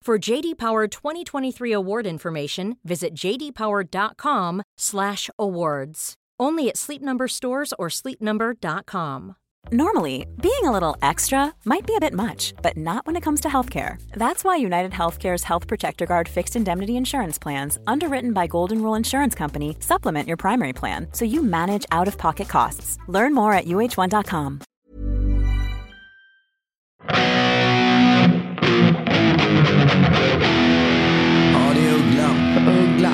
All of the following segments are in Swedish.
For JD Power 2023 award information, visit jdpower.com/awards. Only at Sleep Number stores or sleepnumber.com. Normally, being a little extra might be a bit much, but not when it comes to healthcare. That's why United Healthcare's Health Protector Guard fixed indemnity insurance plans, underwritten by Golden Rule Insurance Company, supplement your primary plan so you manage out of pocket costs. Learn more at uh1.com. Ja, det är Uggla. Uggla.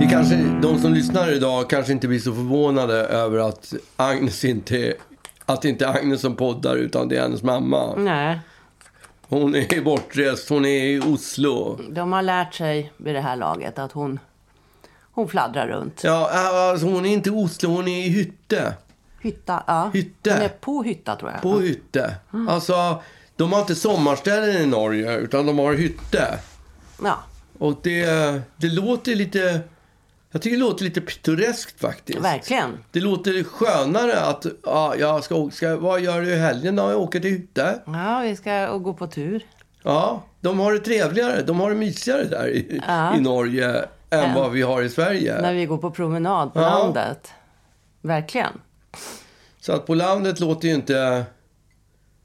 Det kanske, de som lyssnar idag kanske inte blir så förvånade över att Agnes inte, att det inte är Agnes som poddar utan det är hennes mamma. Nej, Hon är bortrest, hon är i Oslo. de har lärt sig vid det här laget att hon, hon fladdrar runt. Ja, alltså hon är inte i Oslo, hon är i Hytte. Hytta, ja. Hytte. Hon är på hytta tror jag. På Hytte. Alltså, de har inte sommarställen i Norge utan de har Hytte. Ja, Och det, det låter lite... Jag tycker det låter lite pittoreskt faktiskt. verkligen. Det låter skönare att, ja, jag ska, ska, vad gör du i helgen då? Jag åker till Hytte. Ja, vi ska och gå på tur. Ja, de har det trevligare, de har det mysigare där i, i Norge än vad vi har i När Sverige. vi går på promenad på Ja. landet. Verkligen. Så att på landet låter ju inte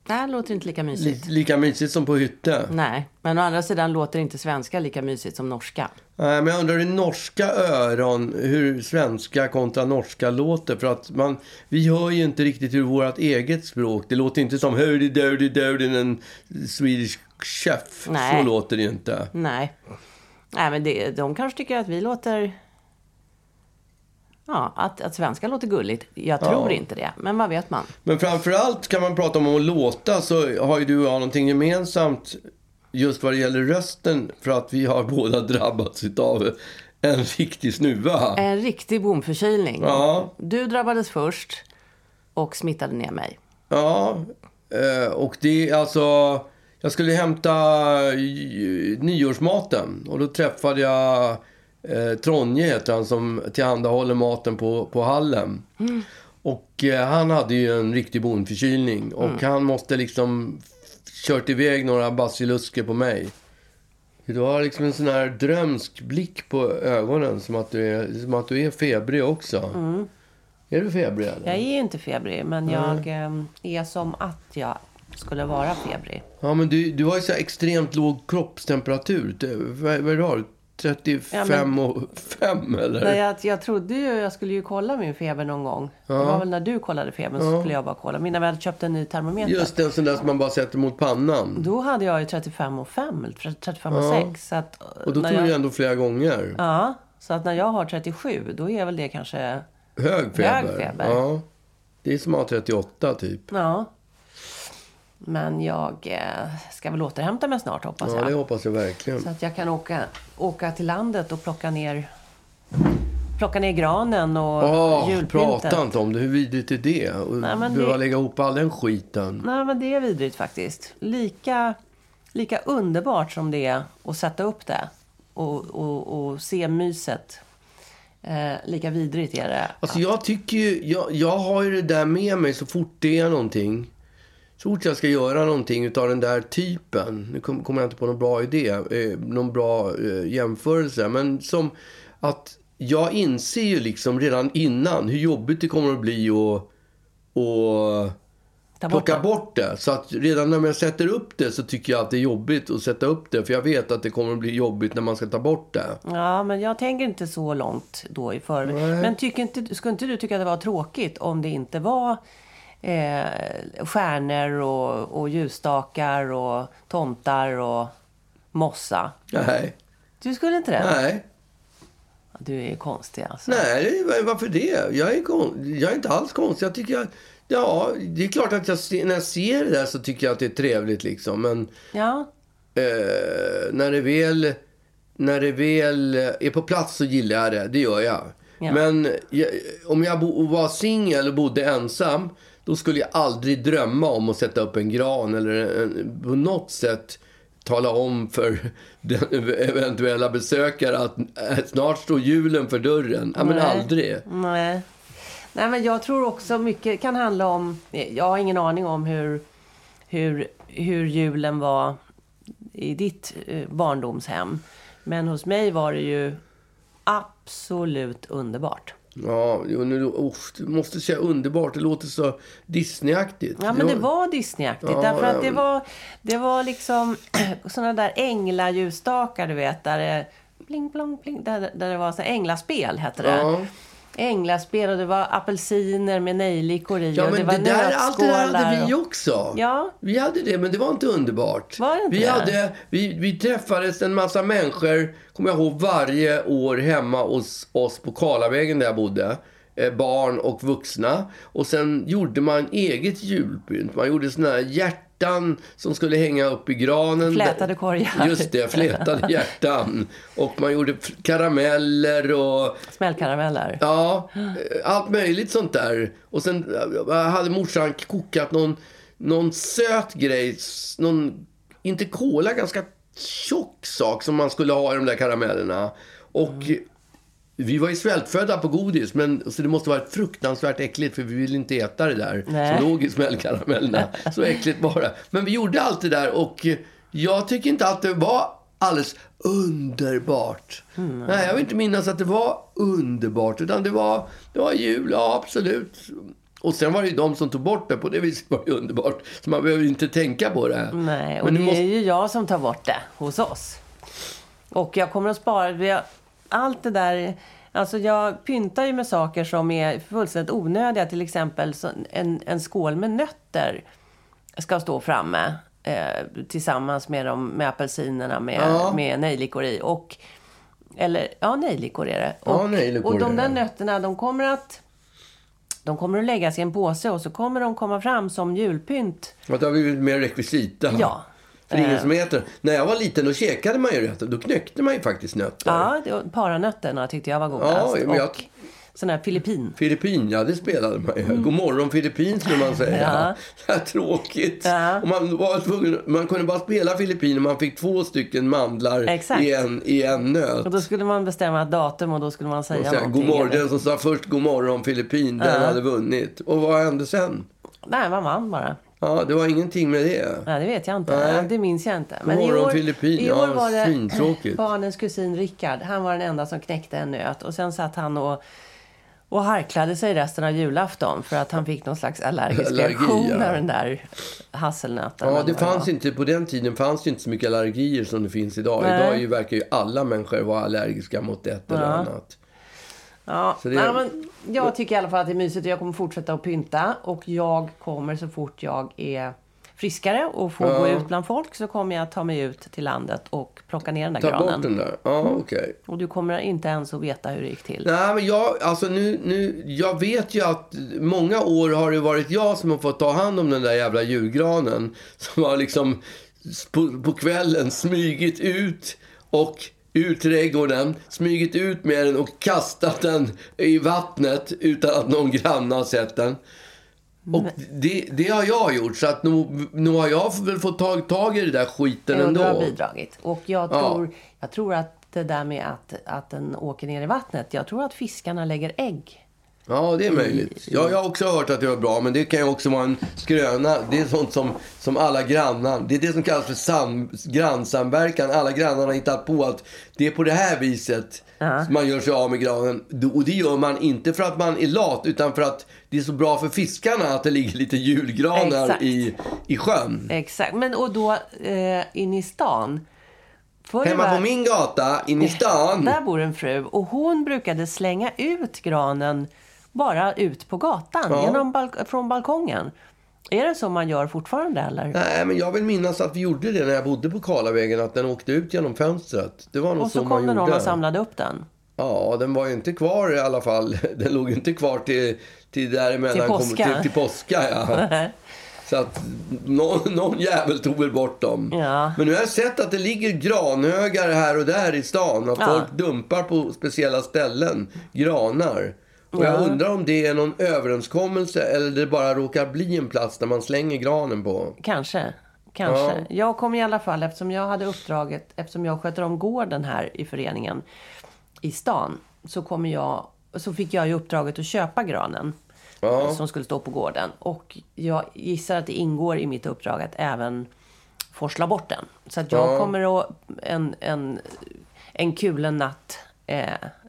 Det här låter inte lika mysigt. li, lika mysigt som på Hytte. Nej, men å andra sidan låter inte svenska lika mysigt som norska. Nej, men jag undrar i norska öron hur svenska kontra norska låter. För att man, vi hör ju inte riktigt hur vårt eget språk, det låter inte som hurdy dirty dirty en Swedish chef. Nej. Så låter det ju inte. Nej. Nej, men det, de kanske tycker att vi låter... Ja, att, att svenska låter gulligt. Jag tror inte det, men vad vet man? Men framförallt kan man prata om att låta så har ju du och jag någonting gemensamt just vad det gäller rösten. För att vi har båda drabbats av en riktig snuva. En riktig bomförkylning. Ja. Du drabbades först och smittade ner mig. Ja, eh, och det är alltså... Jag skulle hämta eh, nyårsmaten och då träffade jag eh, Tronje, heter han, som tillhandahåller maten på, på hallen. Och eh, han hade ju en riktig bondförkylning och han måste liksom f- kört iväg några basilusker på mig. Du har liksom en sån här drömsk blick på ögonen som att du är, som att du är febrig också. Är du febrig eller? Jag är ju inte febrig, men jag ehm, är som att jag skulle vara febrig. Ja, men du, du har ju så här extremt låg kroppstemperatur. Det- Vad, vad är det har? 35 Ja, men- och 5 eller? Nej, jag, jag trodde ju jag skulle ju kolla min feber någon gång. Det var väl när du kollade febern så skulle jag bara kolla. Men när vi hade köpt en ny termometer. Just en sån där som man bara sätter mot pannan. Då hade jag ju 35 och 5, 35 och 6. Så att, eh, Och då när tog jag, du ändå flera gånger. Ja, så att när jag har 37, då är väl det kanske... Hög feber. Hög feber. Ja. Det är som att ha 38 typ. Ja. Men jag eh, ska väl återhämta mig snart hoppas Ja, det jag. hoppas jag verkligen. Så att jag kan åka, åka till landet och plocka ner, plocka ner granen och Åh, julpynten. prata inte om det. Hur vidrigt är det? Och Nej, men behöva det- lägga ihop all den skiten. Nej, men det är vidrigt faktiskt. Lika, lika underbart som det är att sätta upp det och, och, och se myset. Eh, lika vidrigt är det. Alltså jag tycker ju, jag, jag har ju det där med mig så fort det är någonting. Så fort jag ska göra någonting utav den där typen. Nu kom- kommer jag inte på någon bra idé, eh, någon bra eh, jämförelse. Men som att jag inser ju liksom redan innan hur jobbigt det kommer att bli att och Ta bort plocka det. bort det. Så att redan när jag sätter upp det så tycker jag att det är jobbigt att sätta upp det. För jag vet att det kommer att bli jobbigt när man ska ta bort det. Ja, men jag tänker inte så långt då i förväg. Men tycker inte, skulle inte du tycka att det var tråkigt om det inte var eh, stjärnor och, och ljusstakar och tomtar och mossa? Nej, Du skulle inte det? nej. Du är konstig alltså. Nej, va- varför det? Jag är, kon- jag är inte alls konstig. Jag tycker jag... Ja, det är klart att jag se- när jag ser det där så tycker jag att det är trevligt liksom. Men Ja, eh, när, det väl, när det väl är på plats så gillar jag det. Det gör jag. Ja. Men jag, om jag bo, var singel och bodde ensam, då skulle jag aldrig drömma om att sätta upp en gran eller en, på något sätt tala om för den eventuella besökare att eh, snart står julen för dörren. Ja, men Nej. aldrig. Nej. Nej, men jag tror också mycket kan handla om... Jag har ingen aning om hur, hur, hur julen var i ditt eh, barndomshem. Men hos mig var det ju absolut underbart. Ja, jo, nu, oh, du måste säga underbart. Det låter så Disneyaktigt. Ja, men det var Disneyaktigt. Ja, därför att det men- var, det var liksom sådana där änglaljusstakar, du vet. Där det, bling, blong, bling, där, där det var så här, änglaspel, hette det. Ja. Änglaspel och det var apelsiner med nejlikor i. Ja, och men det var det där, allt det där nötskålar hade vi och- också. Ja. Vi hade det, men det var inte underbart. Var det inte vi, det? hade, vi, vi träffades en massa människor, kommer jag ihåg, varje år hemma hos oss på Karlavägen där jag bodde. Eh, Barn och vuxna. Och sen gjorde man eget julpynt. Man gjorde såna här hjärtan som skulle hänga upp i granen. Flätade korgar. Just det, flätade hjärtan. Och man gjorde f- karameller och Smällkarameller. Ja, eh, allt möjligt sånt där. Och sen eh, hade morsan kokat någon, någon söt grej, s- någon, inte kola, ganska tjock sak som man skulle ha i de där karamellerna. Och vi var ju svältfödda på godis, men, så det måste ha varit fruktansvärt äckligt för vi ville inte äta det där Nej. som låg i smällkaramellerna. Så äckligt bara. Men vi gjorde allt det där och jag tycker inte att det var alldeles underbart. Mm. Nej, jag vill inte minnas att det var underbart, utan det var, det var jul, ja absolut. Och sen var det ju de som tog bort det, på det viset var det ju underbart. Så man behöver inte tänka på det. Nej, och Men det du måste- är ju jag som tar bort det hos oss. Och jag kommer att spara... vi har- Allt det där... Alltså jag pyntar ju med saker som är fullständigt onödiga. Till exempel så en, en skål med nötter ska stå framme eh, tillsammans med, de, med apelsinerna med, Ja. med nejlikor i. Och, eller, ja, nejlikor är det. Ja, Och, nejlikor och är de det. där nötterna, de kommer att... De kommer att läggas i en påse och så kommer de komma fram som julpynt Att det har blivit mer rekvisita. Ja. För det är ingen Eh. som äter. När jag var liten då käkade man ju rätt. Då knäckte man ju faktiskt nötter. Ja, det var- paranötterna tyckte jag var godast. Ja, men jag- Och sån här filippin. Filippin, ja det spelade man ju. God morgon Filippin skulle man säga. Mm. Ja. Så här tråkigt. Ja. Och man, var tvungen, man kunde bara spela Filippin om man fick två stycken mandlar Exakt. i en, i en nöt. Och då skulle man bestämma ett datum och då skulle man Och säga sen, någonting. god morgon, eller- den som sa först god morgon Filippin, den hade vunnit. Och vad hände sen? Nej, man vann bara. Ja, det var ingenting med det. Nej, det vet jag inte. Nej. Ja, Det minns jag inte. God morgon, i år, Filippin. i Ja, år var svintråkigt. det barnens kusin Rickard. Han var den enda som knäckte en nöt. Och sen satt han och, och harklade sig resten av julafton för att han fick någon slags allergisk Allergi, reaktion ja. av den där hasselnöten. Ja, eller det vad var. fanns inte, på den tiden fanns det inte så mycket allergier som det finns idag. Nej. Idag är ju, verkar ju alla människor vara allergiska mot ett eller Ja. annat. Ja, Så det- nej, men jag tycker i alla fall att det är mysigt och jag kommer fortsätta att pynta. Och jag kommer så fort jag är friskare och får gå ut bland folk så kommer jag ta mig ut till landet och plocka ner den där Ta granen. bort den där. Ja, okej. Och du kommer inte ens att veta hur det gick till. Nej, men jag, alltså nu, nu, jag vet ju att många år har det varit jag som har fått ta hand om den där jävla julgranen. Som har liksom på, på kvällen smygit ut och ur trädgården, smygit ut med den och kastat den i vattnet utan att någon granne har sett den. Och det, det har jag gjort, så att nu, nu har jag väl fått tag, tag i den där skiten Jo, ändå. du har bidragit. Och jag Ja. tror, jag tror att det där med att, att den åker ner i vattnet. Jag tror att fiskarna lägger ägg. Ja, det är Mm. möjligt. Ja, jag har också hört att det var bra, men det kan ju också vara en skröna. Det är sånt som, som alla grannar... Det är det som kallas för sam, grannsamverkan. Alla grannar har hittat på att det är på det här viset Ja. man gör sig av med granen. Och det gör man inte för att man är lat, utan för att det är så bra för fiskarna att det ligger lite julgranar Exakt. i, i sjön. Exakt. Men och då eh, in i stan. Förr i Hemma på världen- min gata, in i stan. Oh, Där bor en fru och hon brukade slänga ut granen bara ut på gatan Ja. genom balk- från balkongen. Är det så man gör fortfarande eller? Nej, men jag vill minnas att vi gjorde det när jag bodde på Karlavägen, att den åkte ut genom fönstret. Det var nog och så man kom det någon gjorde. och samlade upp den. Ja, den var ju inte kvar i alla fall. Den låg ju inte kvar till, till däremellan. Till kom- påska. Till, till påska, ja. Så att någon, någon jävel tog väl bort dem. Ja. Men nu har jag sett att det ligger granhögar här och där i stan. Att Ja. folk dumpar på speciella ställen. Granar. Och jag Ja. undrar om det är någon överenskommelse eller det bara råkar bli en plats där man slänger granen på. Kanske. Kanske. Ja. Jag kom i alla fall, eftersom jag hade uppdraget, eftersom jag sköter om gården här i föreningen i stan, så, kommer jag, så fick jag ju uppdraget att köpa granen eh, Ja. som skulle stå på gården. Och jag gissar att det ingår i mitt uppdrag att även forsla bort den. Så att jag Ja. kommer att en, en, en kulen natt eh,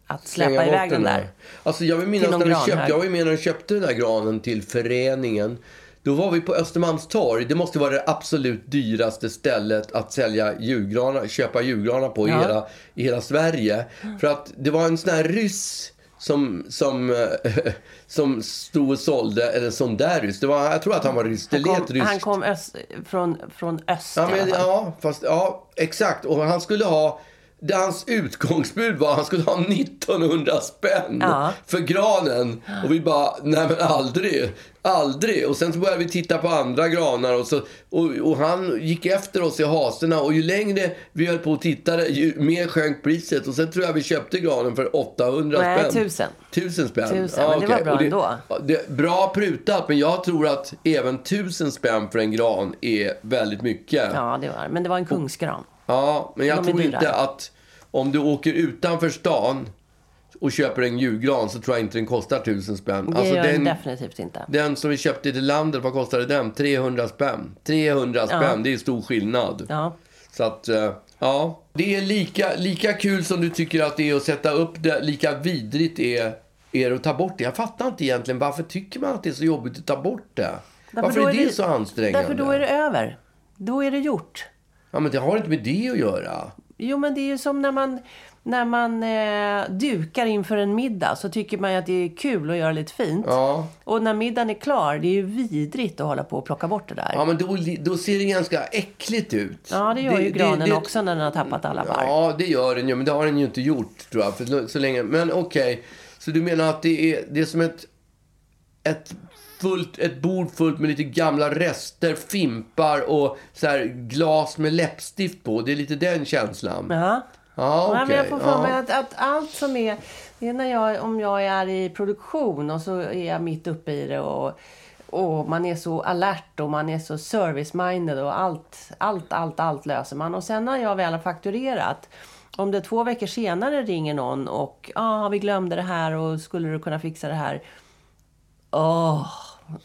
att Slänga släppa bort iväg den där. Alltså jag vill minnas Till någon när du gran köpte, här. jag var ju med när du köpte den där granen till föreningen. Då var vi på Östermalmstorg. Det måste vara det absolut dyraste stället att sälja julgranar, köpa julgranar på i, Ja. hela, i hela Sverige. För att det var en sån här ryss som, som, eh, som stod och sålde, eller sån där ryss. Det var, jag tror att han var ryss. Det Kom, lät ryskt. han kom öst, från, från öst Ja, i alla men, fall. ja, fast, ja, exakt. Och han skulle ha... Det hans utgångsbud var att han skulle ha 1900 spänn Ja. för granen. Och vi bara, nej men aldrig. Aldrig. Och sen så började vi titta på andra granar och, så, och, och han gick efter oss i haserna. Och ju längre vi höll på och tittade, ju mer sjönk priset. Och sen tror jag vi köpte granen för 800 Nej, spänn. 1000. 1000 spänn. Tusen, men det var okej. bra Och ändå. Ja, Det, bra prutat, men jag tror att även 1000 spänn för en gran är väldigt mycket. Ja, det var Men det var en kungsgran. Ja, men jag De är tror dyra. inte att om du åker utanför stan och köper en julgran så tror jag inte den kostar tusen spänn. Det Alltså gör den den, definitivt inte. den som vi köpte i det landet, vad kostade den? 300 spänn. 300 spänn, det är stor skillnad. Ja. Så att, eh, ja. Det är lika, lika kul som du tycker att det är att sätta upp det, lika vidrigt är, är det att ta bort det. Jag fattar inte egentligen, varför tycker man att det är så jobbigt att ta bort det? varför då är det, vi- så ansträngande? Därför då är det över. Då är det gjort. Ja, men det har inte med det att göra. Jo, men det är ju som när man, när man eh, dukar inför en middag. Så tycker man ju att det är kul att göra lite fint. Ja. Och när middagen är klar, det är ju vidrigt att hålla på och plocka bort det där. Ja, men då, då ser det ganska äckligt ut. Ja, det gör ju granen också när den har tappat alla barr. Ja, det gör den ju. Men det har den ju inte gjort, tror jag. För så- så länge. Men okej, så du menar att det är, det är som ett, ett, fullt, ett bord fullt med lite gamla rester, fimpar och så här glas med läppstift på. Det är lite den känslan. Ja. Ja, okej. Nej, men jag får för ja. mig att, att allt som är... Det är när jag, om jag är i produktion och så är jag mitt uppe i det och, och man är så alert och man är så service-minded och allt, allt, allt, allt löser man. Och sen när jag väl har fakturerat om det två veckor senare ringer någon och ah, vi glömde det här och skulle du kunna fixa det här? Åh,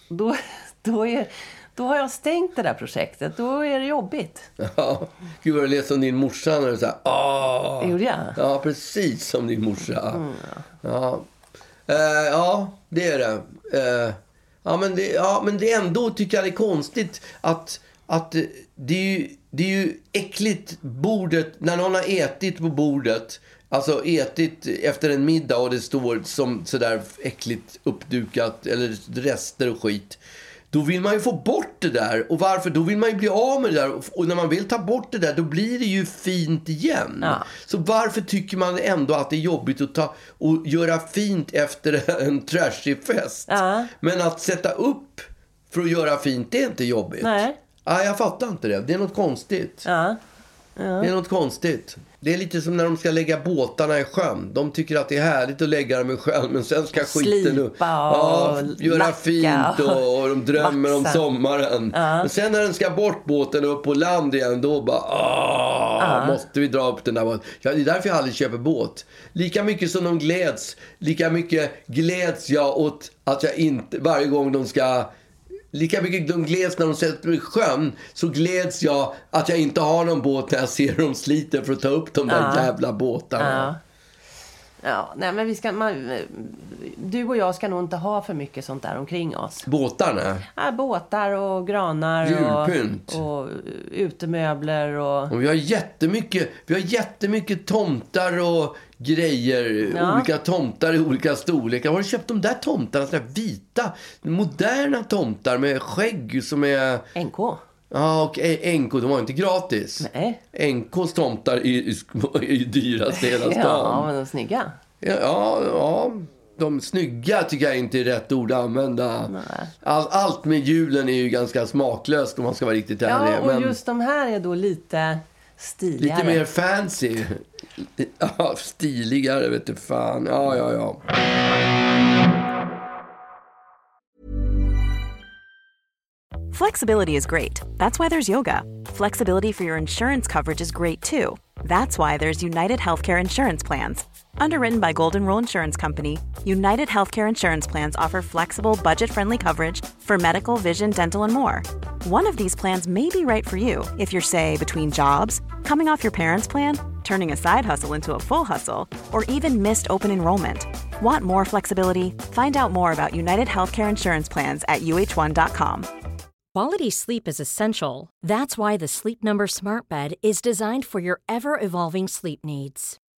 då, då, är, då har jag stängt det där projektet. Då är det jobbigt. Ja. Gud, vad det lät som din morsa när du sa ah. Gjorde jag? Ja, precis som din morsa. ja. Eh, ja, det är det. Eh, ja, men det. Ja, men det är ändå tycker jag det är konstigt att, att eh, det, är ju, det är ju äckligt bordet, när någon har ätit på bordet, alltså ätit efter en middag och det står som sådär äckligt uppdukat eller rester och skit. Då vill man ju få bort det där. Och varför? Då vill man ju bli av med det där. Och när man vill ta bort det där, då blir det ju fint igen. Ja. Så varför tycker man ändå att det är jobbigt att ta och göra fint efter en trashig fest? Ja. Men att sätta upp för att göra fint, det är inte jobbigt. Nej. Ja, jag fattar inte det. Det är något konstigt. Ja. Det är något konstigt. Det är lite som när de ska lägga båtarna i sjön. De tycker att det är härligt att lägga dem i sjön, men sen ska skiten... Slipa och ja, göra lacka fint och, och de drömmer om vaxa. sommaren. Men sen när den ska bort båten och upp på land igen, då bara ah, måste vi dra upp den där båten. Ja, det är därför jag aldrig köper båt. Lika mycket som de gläds, lika mycket gläds jag åt att jag inte, varje gång de ska Lika mycket de gläds när de sätter mig i sjön så gläds jag att jag inte har någon båt när jag ser hur de sliter för att ta upp de där jävla båtarna. Ja, nej men vi ska, man, du och jag ska nog inte ha för mycket sånt där omkring oss. Båtarna? Ja, båtar och granar Julpynt. och, och utemöbler och... Och vi har jättemycket, vi har jättemycket tomtar och grejer. Ja. Olika tomtar i olika storlekar. Var har du köpt de där tomtarna? Sådana där vita, moderna tomtar med skägg som är... NK. Ja, och E- NK, de var inte gratis. Nej. NKs tomtar är ju är ju dyrast i hela stan. Ja, men de är snygga. Ja, ja, ja. de snygga tycker jag inte är rätt ord att använda. All, allt med julen är ju ganska smaklöst om man ska vara riktigt ärlig. Ja, och men just de här är då lite stiligare. lite mer fancy. Ja, stiligare vet du fan. Ja, ja, ja. Flexibility is great. That's why there's yoga. Flexibility for your insurance coverage is great too. That's why there's United Healthcare Insurance Plans. Underwritten by Golden Rule Insurance Company, United Healthcare Insurance Plans offer flexible, budget friendly coverage for medical, vision, dental, and more. One of these plans may be right for you if you're, say, between jobs, coming off your parents' plan, turning a side hustle into a full hustle, or even missed open enrollment. Want more flexibility? Find out more about United Healthcare Insurance Plans at uh1.com. Quality sleep is essential. That's why the Sleep Number Smart Bed is designed for your ever evolving sleep needs.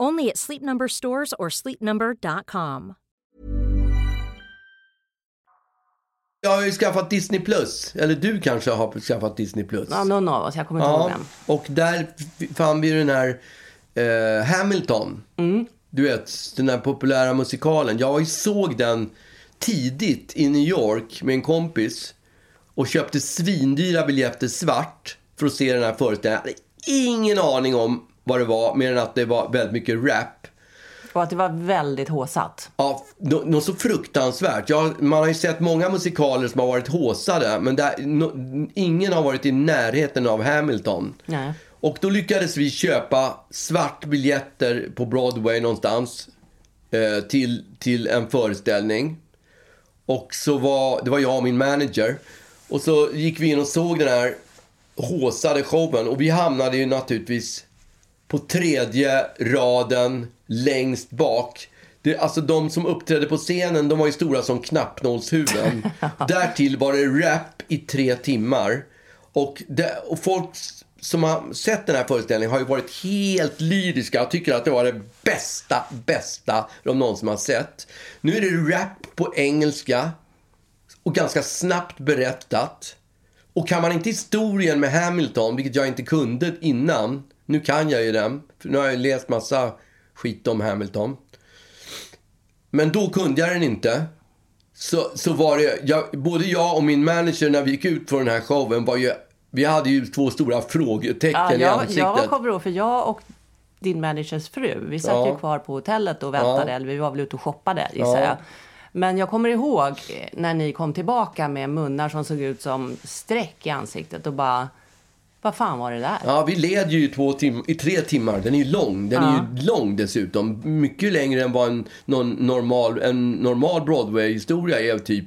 Only at Sleep Number stores or sleepnumber.com. Jag har ju skaffat Disney+. Plus. Eller du kanske har skaffat Disney+. Plus. Ja, någon av oss. Jag kommer inte ihåg Ja, vem. och där f- fann vi den här eh, Hamilton. Mm. Du vet, den här populära musikalen. Jag såg den tidigt i New York med en kompis och köpte svindyra biljetter svart för att se den här föreställningen. Jag hade ingen aning om vad det var, mer än att det var väldigt mycket rap. Och att det var väldigt håsat. Ja, nå- något så fruktansvärt. Jag, man har ju sett många musikaler som har varit håsade, men där, nå- ingen har varit i närheten av Hamilton. Nej. Och då lyckades vi köpa svart biljetter på Broadway någonstans eh, till, till en föreställning. Och så var, det var jag och min manager. Och så gick vi in och såg den här håsade showen och vi hamnade ju naturligtvis på tredje raden längst bak. Det, alltså de som uppträdde på scenen, de var ju stora som knappnålshuvuden. Därtill var det rap i tre timmar. Och, det, och folk s- som har sett den här föreställningen har ju varit helt lyriska och tycker att det var det bästa, bästa de någonsin har sett. Nu är det rap på engelska och ganska snabbt berättat. Och kan man inte historien med Hamilton, vilket jag inte kunde innan. Nu kan jag ju den, för nu har jag ju läst massa skit om Hamilton. Men då kunde jag den inte. Så, så var det, jag, både jag och min manager när vi gick ut från den här showen var ju, vi hade ju två stora frågetecken Ja, i jag, ansiktet. jag kommer ihåg, för jag och din managers fru, vi satt Ja. ju kvar på hotellet och väntade, Ja. eller vi var väl ute och shoppade gissar Ja. jag. Men jag kommer ihåg när ni kom tillbaka med munnar som såg ut som streck i ansiktet och bara, vad fan var det där? Ja, vi led ju i, två tim- i tre timmar. Den är ju lång. Den är ju lång dessutom. Mycket längre än vad en, någon normal, en normal Broadway-historia är. Typ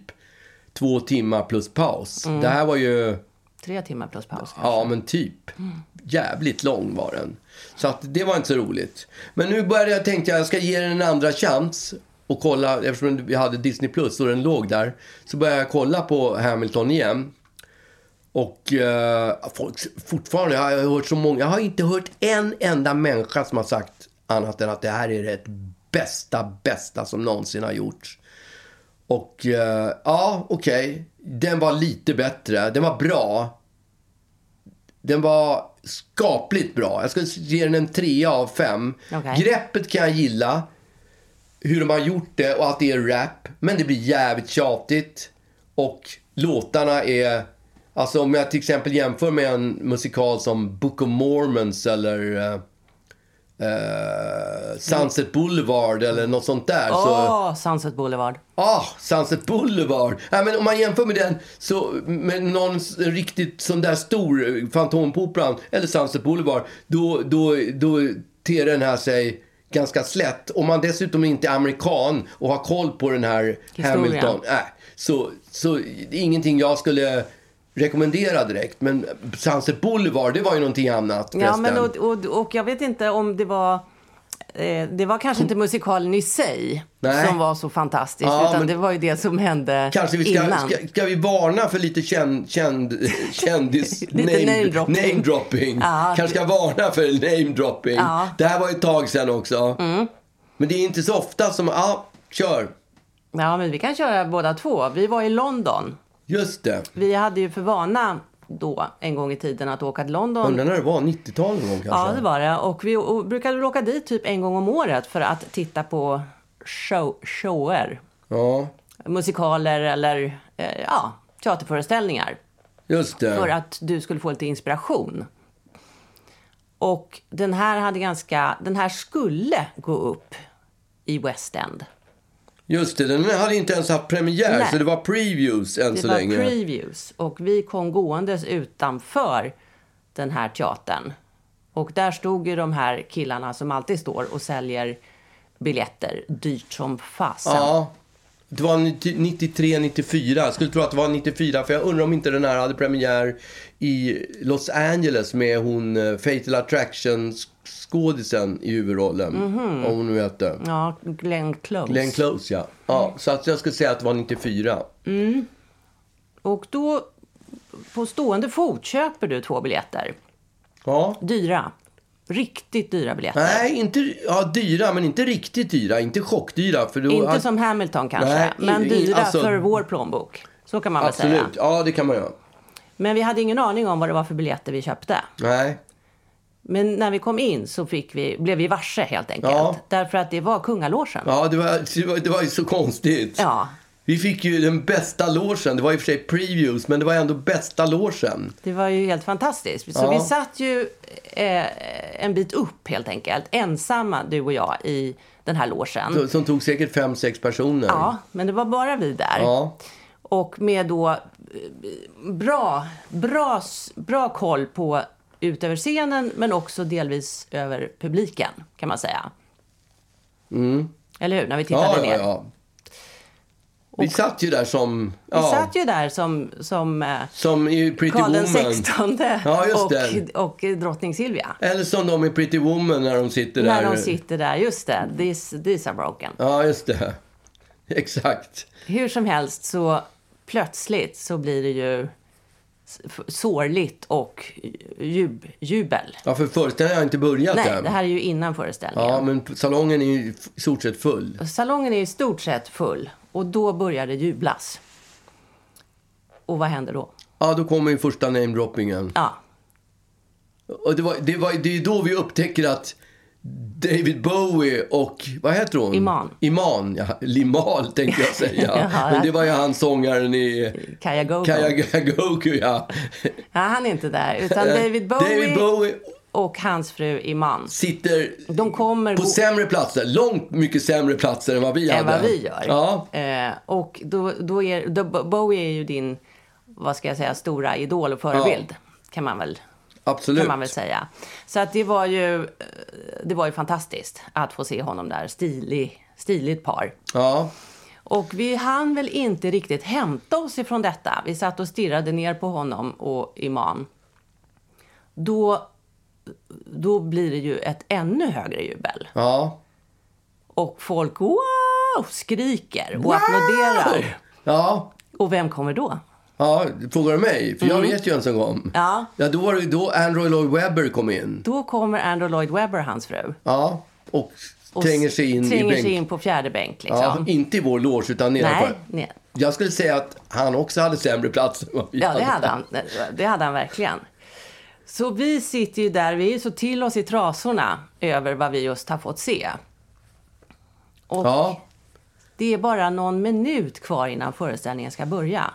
två timmar plus paus. Det här var ju, Tre timmar plus paus. ja men typ. Jävligt lång var den. Så att det var inte så roligt. Men nu började jag tänka jag ska ge den en andra chans. Och kolla, eftersom vi hade Disney Plus och den låg där. Så började jag kolla på Hamilton igen. Och eh, folk, fortfarande, jag har hört så många. Jag har inte hört en enda människa som har sagt annat än att det här är det bästa, bästa som någonsin har gjorts. Och eh, ja, okej. Den var lite bättre. Den var bra. Den var skapligt bra. Jag skulle ge den en trea av fem. Okej. Greppet kan jag gilla. Hur de har gjort det och att det är rap. Men det blir jävligt tjatigt. Och låtarna är... Alltså om jag till exempel jämför med en musikal som Book of Mormons eller... eh, eh, Sunset Boulevard eller något sånt där. Mm. Åh, Så, Sunset Boulevard. Ah, Sunset Boulevard. Ja, men om man jämför med den, så med någon s- riktigt sån där stor, eh, Fantomen på Operan eller Sunset Boulevard, då, då, då ter den här sig ganska slätt. Om man dessutom inte är amerikan och har koll på den här Historien. Hamilton, äh, så, så det är ingenting jag skulle rekommendera direkt. Men Sunset Boulevard, det var ju någonting annat Ja, förresten. men och, och, och jag vet inte om det var eh, det var kanske inte musikalen i sig Nej. som var så fantastisk. Ja, utan men- det var ju det som hände Kanske vi ska, innan. ska, ska vi varna för lite känd, känd, kändis... Lite name-dropping. namedropping. Ja. Kanske ska varna för namedropping. Ja. Mm. Det här var ett tag sedan också. Men det är inte så ofta som... Ja, kör. Ja, men vi kan köra båda två. Vi var i London. Just det. Vi hade ju för vana då en gång i tiden att åka till London. Undrar när det var? 90-talet någon gång kanske? Ja, det var det. Och vi o- brukade väl åka dit typ en gång om året för att titta på show, shower. Ja, Musikaler eller eh, ja, teaterföreställningar. just det. För att du skulle få lite inspiration. Och den här hade ganska... Den här skulle gå upp i West End. Just det, den hade inte ens haft premiär Nej. så det var previews än Det så var länge. previews och vi kom gåendes utanför den här teatern. Och där stod ju de här killarna som alltid står och säljer biljetter dyrt som fasen. ja. Det var 93, 94. Jag skulle tro att det var 94 för jag undrar om inte den här hade premiär i Los Angeles med hon eh, Fatal Attraction sk- skådisen i huvudrollen. Mhm. Vad hon nu hette. Ja, Glenn Close. Glenn Close ja. ja. Mm. Så att jag skulle säga att det var 94. Och då, på stående fot, köper du två biljetter. Ja. Dyra. Riktigt dyra biljetter. Nej, inte ja, dyra men inte riktigt dyra. Inte chockdyra. För då, Inte som Hamilton kanske, Nej, men i- i- dyra alltså- för vår plånbok. Så kan man väl säga. Absolut, ja det kan man göra. Men vi hade ingen aning om vad det var för biljetter vi köpte. Nej. Men när vi kom in så fick vi, blev vi varse helt enkelt. Ja. Därför att det var kungalogen. Ja, det var, det var, det var ju så konstigt. Ja. Vi fick ju den bästa logen. Det var i och för sig previews, men det var ändå bästa logen. Det var ju helt fantastiskt. Så Ja. vi satt ju eh, en bit upp helt enkelt. Ensamma, du och jag, i den här logen. Så- Som tog säkert fem, sex personer. Mm. Ja, men det var bara vi där. Ja. Och med då eh, bra, bra, s- bra koll på utöver scenen men också delvis över publiken kan man säga. Eller hur? När vi tittade Mm. Ja, ner. ja, ja. Vi satt ju där som... Vi Ja, satt ju där som, som eh, Som i Pretty Karl den Woman. sextonde Ja, just och, det. och drottning Silvia. Eller som de i Pretty Woman när de sitter där. När de sitter där, just det, these, these are broken. Ja, just det. Exakt. Hur som helst så plötsligt så blir det ju s- f- sårligt och jub, jubel. Ja, för föreställningen har inte börjat Nej, än. det här är ju innan föreställningen. Ja, men salongen är ju i stort sett full. Salongen är i stort sett full och då börjar det jublas. Och vad händer då? Ja, då kommer ju första namedroppingen. Ja, Och det, var, det, var, det är då vi upptäcker att David Bowie och, vad heter hon? Iman. Iman, ja, Limal tänkte jag säga. Ja, Men det var ju han sångaren i Kaja Gogo. Kajagoku, ja. Ja, han är inte där. Utan David Bowie, Eh, David Bowie och hans fru Iman. sitter De kommer på gå- sämre platser, långt mycket sämre platser än vad vi än hade. vad vi gör. Ja, Eh, och då, då är, då, Bowie är ju din, vad ska jag säga, stora idol och förebild. Kan, man väl, absolut. kan man väl säga. Så att det var ju, eh, det var ju fantastiskt att få se honom där. Stilig, stiligt par. Ja, Och vi hann väl inte riktigt hämta oss ifrån detta. Vi satt och stirrade ner på honom och Iman. Då, då blir det ju ett ännu högre jubel. ja. Och folk wow, skriker och applåderar. Ja, Och vem kommer då? ja, frågar du mig? För jag vet ju en som kom. Mm. Ja. ja, då var det ju då Andrew Lloyd Webber kom in. Då kommer Andrew Lloyd Webber, hans fru. Ja, och Och tränger sig in i tränger bänk. sig in på fjärde bänk. Ja, alltså, Liksom. inte i vår loge utan nej, nedanför. nej, Jag skulle säga att han också hade sämre plats än vad vi ja det hade han. Det hade han verkligen. Så vi sitter ju där, vi är så till oss i trasorna över vad vi just har fått se. Och Ja, det är bara någon minut kvar innan föreställningen ska börja.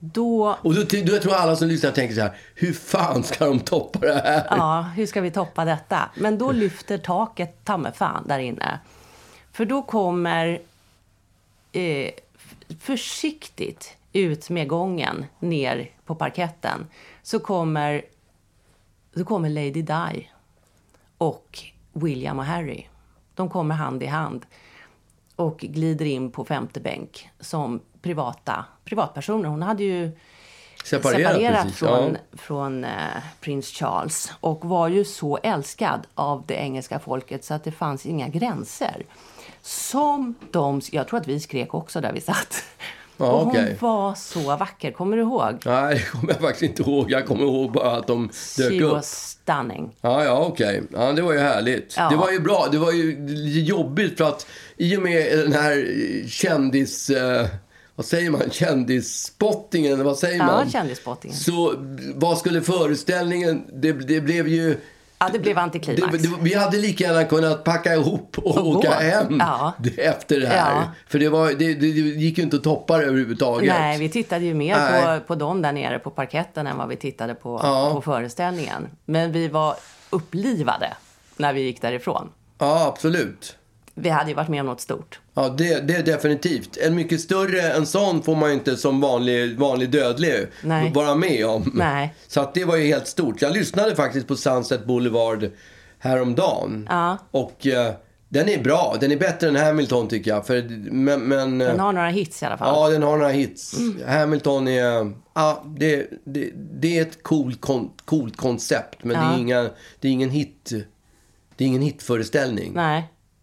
Då, och då, ty- då tror jag alla som lyssnar tänker så här, hur fan ska de toppa det här? ja, hur ska vi toppa detta? Men då lyfter taket ta mig fan där inne. För då kommer eh, f- försiktigt ut med gången ner på parketten så kommer, då kommer Lady Di och William och Harry. De kommer hand i hand och glider in på femte bänk som privata privatpersoner. Hon hade ju Separerat, precis, från, ja. från eh, prins Charles och var ju så älskad av det engelska folket så att det fanns inga gränser. Som de, jag tror att vi skrek också där vi satt. Ja, och hon okej. var så vacker, kommer du ihåg? Nej, det kommer jag faktiskt inte ihåg. Jag kommer ihåg bara att de dök She upp. was stunning. Ja, ja, okej. Ja, det var ju härligt. Ja. Det var ju bra. Det var ju jobbigt för att i och med den här eh, kändis... Eh, vad säger man? Kändisspottingen, eller vad säger Ja, man? kändisspottingen. Så vad skulle föreställningen... Det, det blev ju... Ja, det blev antiklimax. Det, det, vi hade lika gärna kunnat packa ihop och, Och gå. åka hem Ja. efter det här. Ja. För det, var, det, det gick ju inte att toppa det överhuvudtaget. Nej, vi tittade ju mer Nej. på, på dem där nere på parketten än vad vi tittade på, Ja. på föreställningen. Men vi var upplivade när vi gick därifrån. Ja, absolut. Vi hade ju varit med om något stort. Ja, det, det är definitivt. En mycket större än sån får man ju inte som vanlig, vanlig dödlig Nej. vara med om. Nej. Så att det var ju helt stort. Jag lyssnade faktiskt på Sunset Boulevard häromdagen. Ja. Och eh, den är bra. Den är bättre än Hamilton tycker jag. För, men, men, eh, Den har Mm. några hits i alla fall. Ja, den har några hits. Hamilton är... Ja, det, det, det är ett coolt, kon, coolt koncept, men det, Ja. är inga, det är ingen hit. Det är ingen hitföreställning. Nej.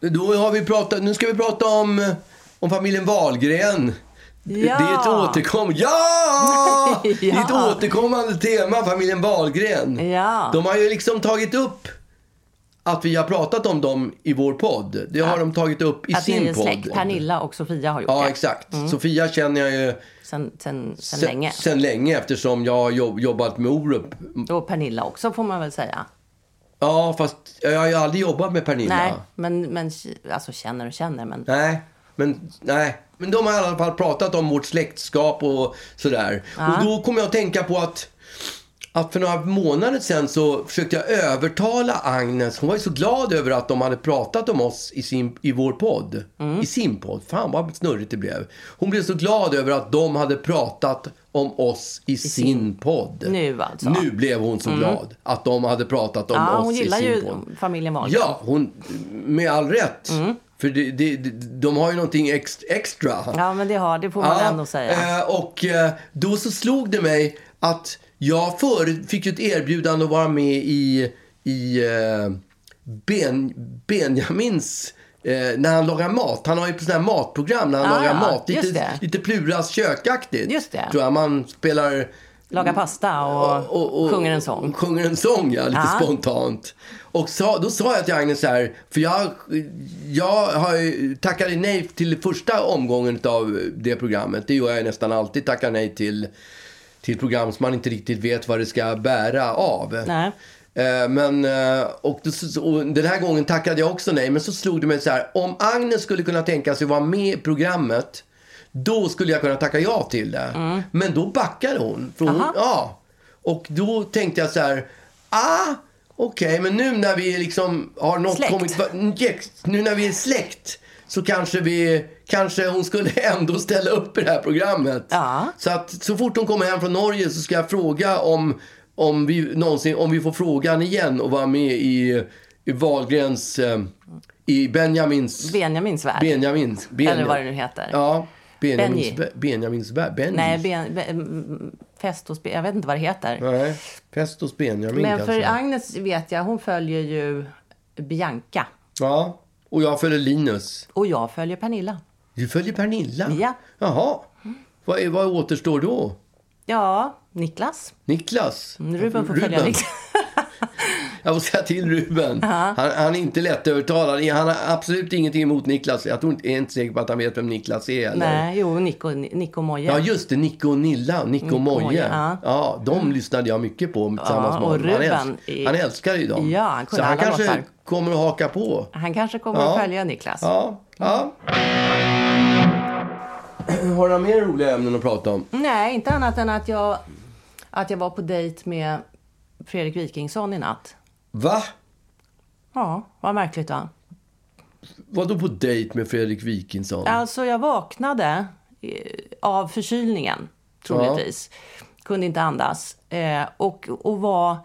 Då har vi pratat, nu ska vi prata om, om familjen Wahlgren. Ja. Det är ett, återkom ja! Ja. Det är ett återkommande tema, familjen Wahlgren. Ja. De har ju liksom tagit upp att vi har pratat om dem i vår podd. Det har de tagit upp i Att ni är sin podd. släkt. Pernilla och Sofia har gjort Ja, det. exakt. Sofia känner jag ju Sen, sen, sen se- länge. sen länge eftersom jag har jobb, jobbat med Orup. Och Pernilla också får man väl säga. Ja, fast jag har ju aldrig jobbat med Pernilla. Nej, men, men alltså känner och känner. Men Nej, men, nej. men de har i alla fall pratat om vårt släktskap och sådär. Och då kom jag att tänka på att, att för några månader sedan så försökte jag övertala Agnes. Hon var ju så glad över att de hade pratat om oss i, sin, i vår podd. Mm. I sin podd. Fan vad snurrigt det blev. Hon blev så glad över att de hade pratat om oss i, sin, podd. Nu alltså. Nu blev hon så glad att de hade pratat om ja, oss hon i gillar sin ju podd. familjen Wahlgren. Ja, hon, med all rätt. För det, det, det- de har ju någonting ex, extra. Mm. ja, men det, har, det får man ändå säga. eh, Och eh, då så slog det mig att jag för, fick ju ett erbjudande att vara med i, i eh, ben, Benjamins Eh, när han lagar mat. Han har ju på sådana här matprogram när han Ah, lagar ja, mat. just Lite, det. lite Pluras kökaktigt. Just det. Tror jag. Man spelar Lagar pasta och, sjunger en sång. och sjunger en sång, ja. Lite Ja. spontant. Och sa, då sa jag till Agnes så här, för jag, jag har ju- tackade nej till första omgången av det programmet. Det gör jag nästan alltid, tackar nej till, till program som man inte riktigt vet vad det ska bära av. Nej. Eh, Men, eh, och, då så- och den här gången tackade jag också nej. Men så slog det mig så här. Om Agnes skulle kunna tänka sig vara med i programmet. Då skulle jag kunna tacka ja till det. Mm. Men då backade hon. För hon ja. Och då tänkte jag så här. Ah, okej. men nu när vi liksom har något Släkt. kommit... Nu när vi är släkt. Så kanske, vi, kanske hon skulle ändå ställa upp i det här programmet. Ja. Så att så fort hon kommer hem från Norge så ska jag fråga om, om, vi, någonsin, om vi får frågan igen och vara med i, i Wahlgrens, eh, i Benjamins... Benjamins värld. Benjamins. Benja- Eller vad det nu heter. Ja. Benjamins, Benji. Benjamins, Benji. Nej, ben, ben, Fest hos, jag vet inte vad det heter. Nej, Fest hos Benjamin Men kanske. för Agnes vet jag, hon följer ju Bianca. Ja, och jag följer Linus. Och jag följer Pernilla. Du följer Pernilla? Ja. Jaha. Vad, är, vad återstår då? Ja, Niklas. Niklas? Mm, Ruben får följa Niklas. Jag måste säga till Ruben. Han, han är inte lättövertalad. Han har absolut ingenting emot Niklas. Jag tror inte, är inte säker på att han vet vem Niklas är. Eller? Nej, jo, Nico, Nico Moje. Ja, just det. Nico och Nilla. Nico och Moje. Moje, Ja. ja. Mm. de lyssnade jag mycket på tillsammans Ja, med och honom. Han, Ruben älsk, är- han älskar ju dem. Ja, han kunde Så han alla kanske låtar. kommer att haka på. Han kanske kommer Ja. att följa Niklas. Ja. ja. Har du några mer roliga ämnen att prata om? Nej, inte annat än att jag, att jag var på dejt med Fredrik Wikingsson i natt. Va? Ja, vad märkligt va? Var du på dejt med Fredrik Wikingsson? Alltså jag vaknade eh, av förkylningen, troligtvis. Kunde inte andas. Eh, och, och var...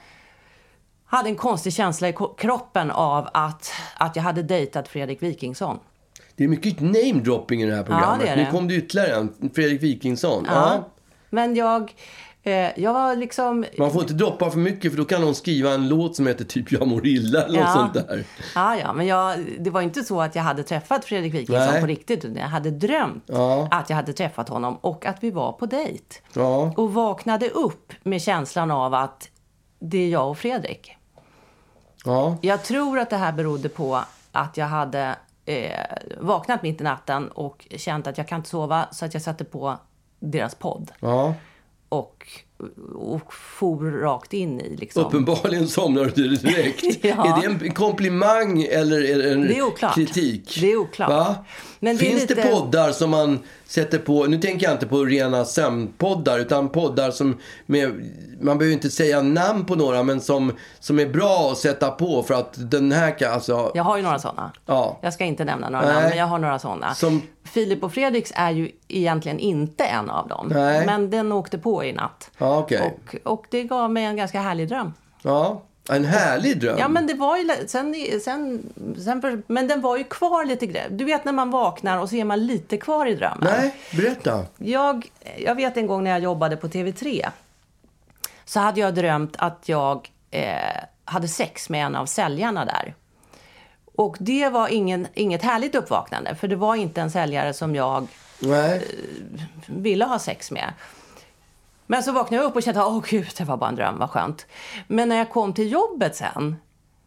Hade en konstig känsla i ko- kroppen av att, att jag hade dejtat Fredrik Wikingsson. Det är mycket namedropping i det här programmet. det är det. Nu kom det ytterligare en. Fredrik Wikingsson. Ja. Men jag... Eh, jag var liksom... Man får inte droppa för mycket för då kan någon skriva en låt som heter typ Jag mår illa eller något sånt där. Ja, ja, men jag, det var inte så att jag hade träffat Fredrik Nej. Wikingsson på riktigt. Utan jag hade drömt Ja. att jag hade träffat honom och att vi var på dejt. Ja. Och vaknade upp med känslan av att det är jag och Fredrik. Ja. Jag tror att det här berodde på att jag hade eh, vaknat mitt i natten och känt att jag kan inte sova så att jag satte på deras podd. ja. Och, och for rakt in i liksom. Uppenbarligen somnade du direkt. Ja. Är det en komplimang eller är det en Det är oklart. kritik? Det är oklart. Va? Men det är Finns det lite- poddar som man sätter på, nu tänker jag inte på rena sömnpoddar, utan poddar som, med, man behöver inte säga namn på några, men som, som är bra att sätta på för att den här kan, alltså, Jag har ju några sådana. Ja. Jag ska inte nämna några Nej. namn, men jag har några sådana. Som- Filip och Fredriks är ju egentligen inte en av dem. Nej. Men den åkte på i natt. Ja, okej. och, och det gav mig en ganska härlig dröm. ja, en härlig dröm. Ja, men det var ju... lä- Sen, sen, sen, för- men den var ju kvar lite grann. Du vet när man vaknar och så är man lite kvar i drömmen. Nej, berätta. Jag, jag vet en gång när jag jobbade på TV3 så hade jag drömt att jag eh, hade sex med en av säljarna där. Och det var ingen, inget härligt uppvaknande för det var inte en säljare som jag Eh. Nej. ville ha sex med. Men så vaknade jag upp och kände åh gud, det var bara en dröm, vad skönt. Men när jag kom till jobbet sen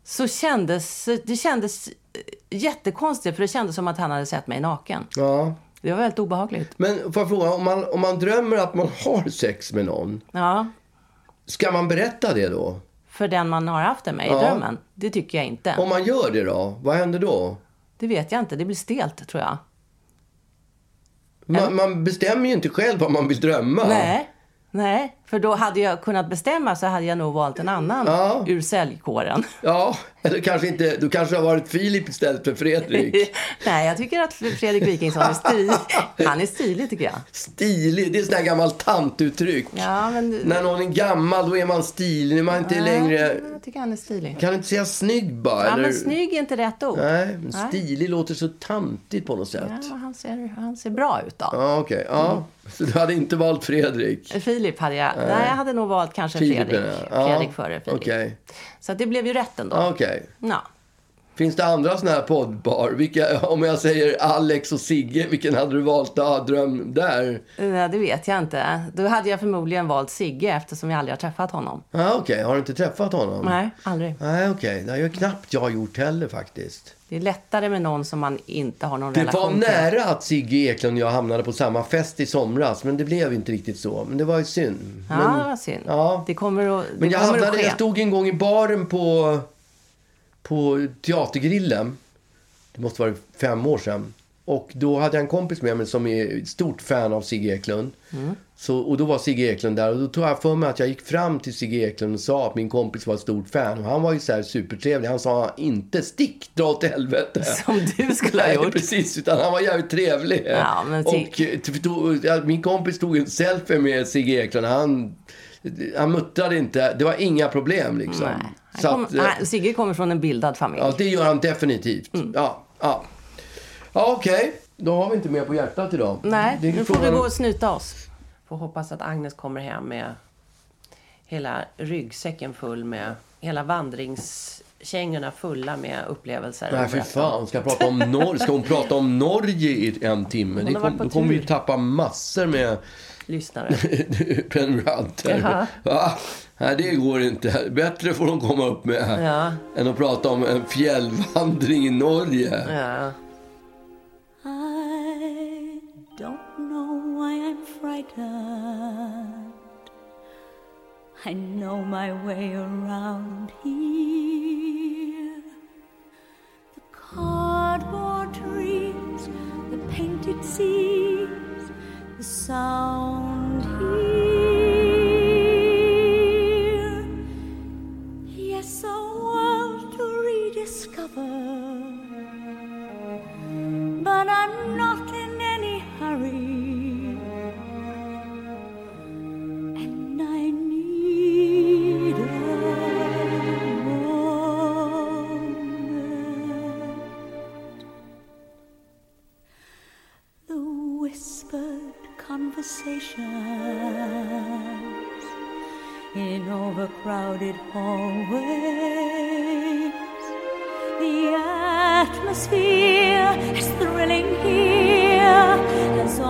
så kändes det kändes eh, jättekonstigt för det kändes som att han hade sett mig naken. Ja. Det var väldigt obehagligt. Men får jag fråga, om man, om man drömmer att man har sex med någon, Ja, ska man berätta det då? för den man har haft den med i drömmen. Det tycker jag inte. Om man gör det då, vad händer då? Det vet jag inte. Det blir stelt, tror jag. Man, man bestämmer ju inte själv vad man vill drömma. Nej. Nej, för då hade jag kunnat bestämma så hade jag nog valt en annan Ja. ur säljkåren. Ja, eller kanske inte. Du kanske har varit Filip istället för Fredrik. Nej, jag tycker att Fredrik Wikingsson är stilig. Han är stilig, tycker jag. Stilig, det är sådana här gammalt tantuttryck. Ja, men... När någon är gammal, då är man stilig. Nu är man inte längre... Ja, Jag tycker han är stilig. Kan du inte säga snygg bara? Ja, eller? men snygg är inte rätt ord. Nej, men stilig låter så tantigt på något sätt. Ja, Mm. han, ser, han ser bra ut då. Ja, okej. Ja. Så du hade inte valt Fredrik? Filip hade jag... Nej. jag hade nog valt kanske Filip, Fredrik. ja. Fredrik före Filip. Okej. Så att det blev ju rätt ändå. Ja, Okej. Ja. Finns det andra såna här poddbar? Vilka, om jag säger Alex och Sigge, vilken hade du valt att ha dröm där? Nej, det vet jag inte. Då hade jag förmodligen valt Sigge eftersom jag aldrig har träffat honom. Ja, okej. Har du inte träffat honom? Nej, aldrig. Mm. Nej, okej. Det har ju knappt jag gjort heller faktiskt. Det är lättare med någon som man inte har någon Det var relation nära att Sigge Eklund och jag hamnade på samma fest i somras, men det blev inte riktigt så. Men det var ju synd. Ja, men, vad synd. Ja. Det kommer att, men det jag, kommer hamnade, att ske. jag stod en gång i baren på, på Teatergrillen. Det måste vara fem år sedan. Och då hade jag en kompis med mig som är ett stort fan av Sigge Eklund. Mm. Så, och då var Sigge Eklund där och då tog jag för mig att jag gick fram till Sigge Eklund och sa att min kompis var ett stort fan. Och han var ju så här supertrevlig. Han sa inte stick, dra åt helvete. Som du skulle ha Nej, gjort. precis. Utan han var jävligt trevlig. Ja, men typ. Sig- och eh, t- tog, ja, min kompis tog en selfie med Sigge Eklund. Han, han muttrade inte. Det var inga problem liksom. Nej. Han Så kom, att, eh, nej, Sigge kommer från en bildad familj. ja, det gör han definitivt. Mm. Ja, ja. ja okej. Då har vi inte mer på hjärtat idag. nej, Det är nu får frågan vi om- gå och snyta oss. Får hoppas att Agnes kommer hem med hela ryggsäcken full med, hela vandringskängorna fulla med upplevelser. Nej, att för berätta fan. Ska, jag prata om Nor- ska hon prata om Norge i en timme? Det har varit kom, på då kommer vi tur. tappa massor med om Lyssnare. prenumeranter. Jaha. Va? Nej, det går inte. Bättre får de komma upp med Ja. än att prata om en fjällvandring i Norge. Ja. I don't know why I'm frightened. I know my way around here. The cardboard trees, the painted seas, the sound here. Yes, a world to rediscover but I'm not in any hurry. And I need a moment. The whispered conversations in overcrowded hallways. The atmosphere is thrilling here as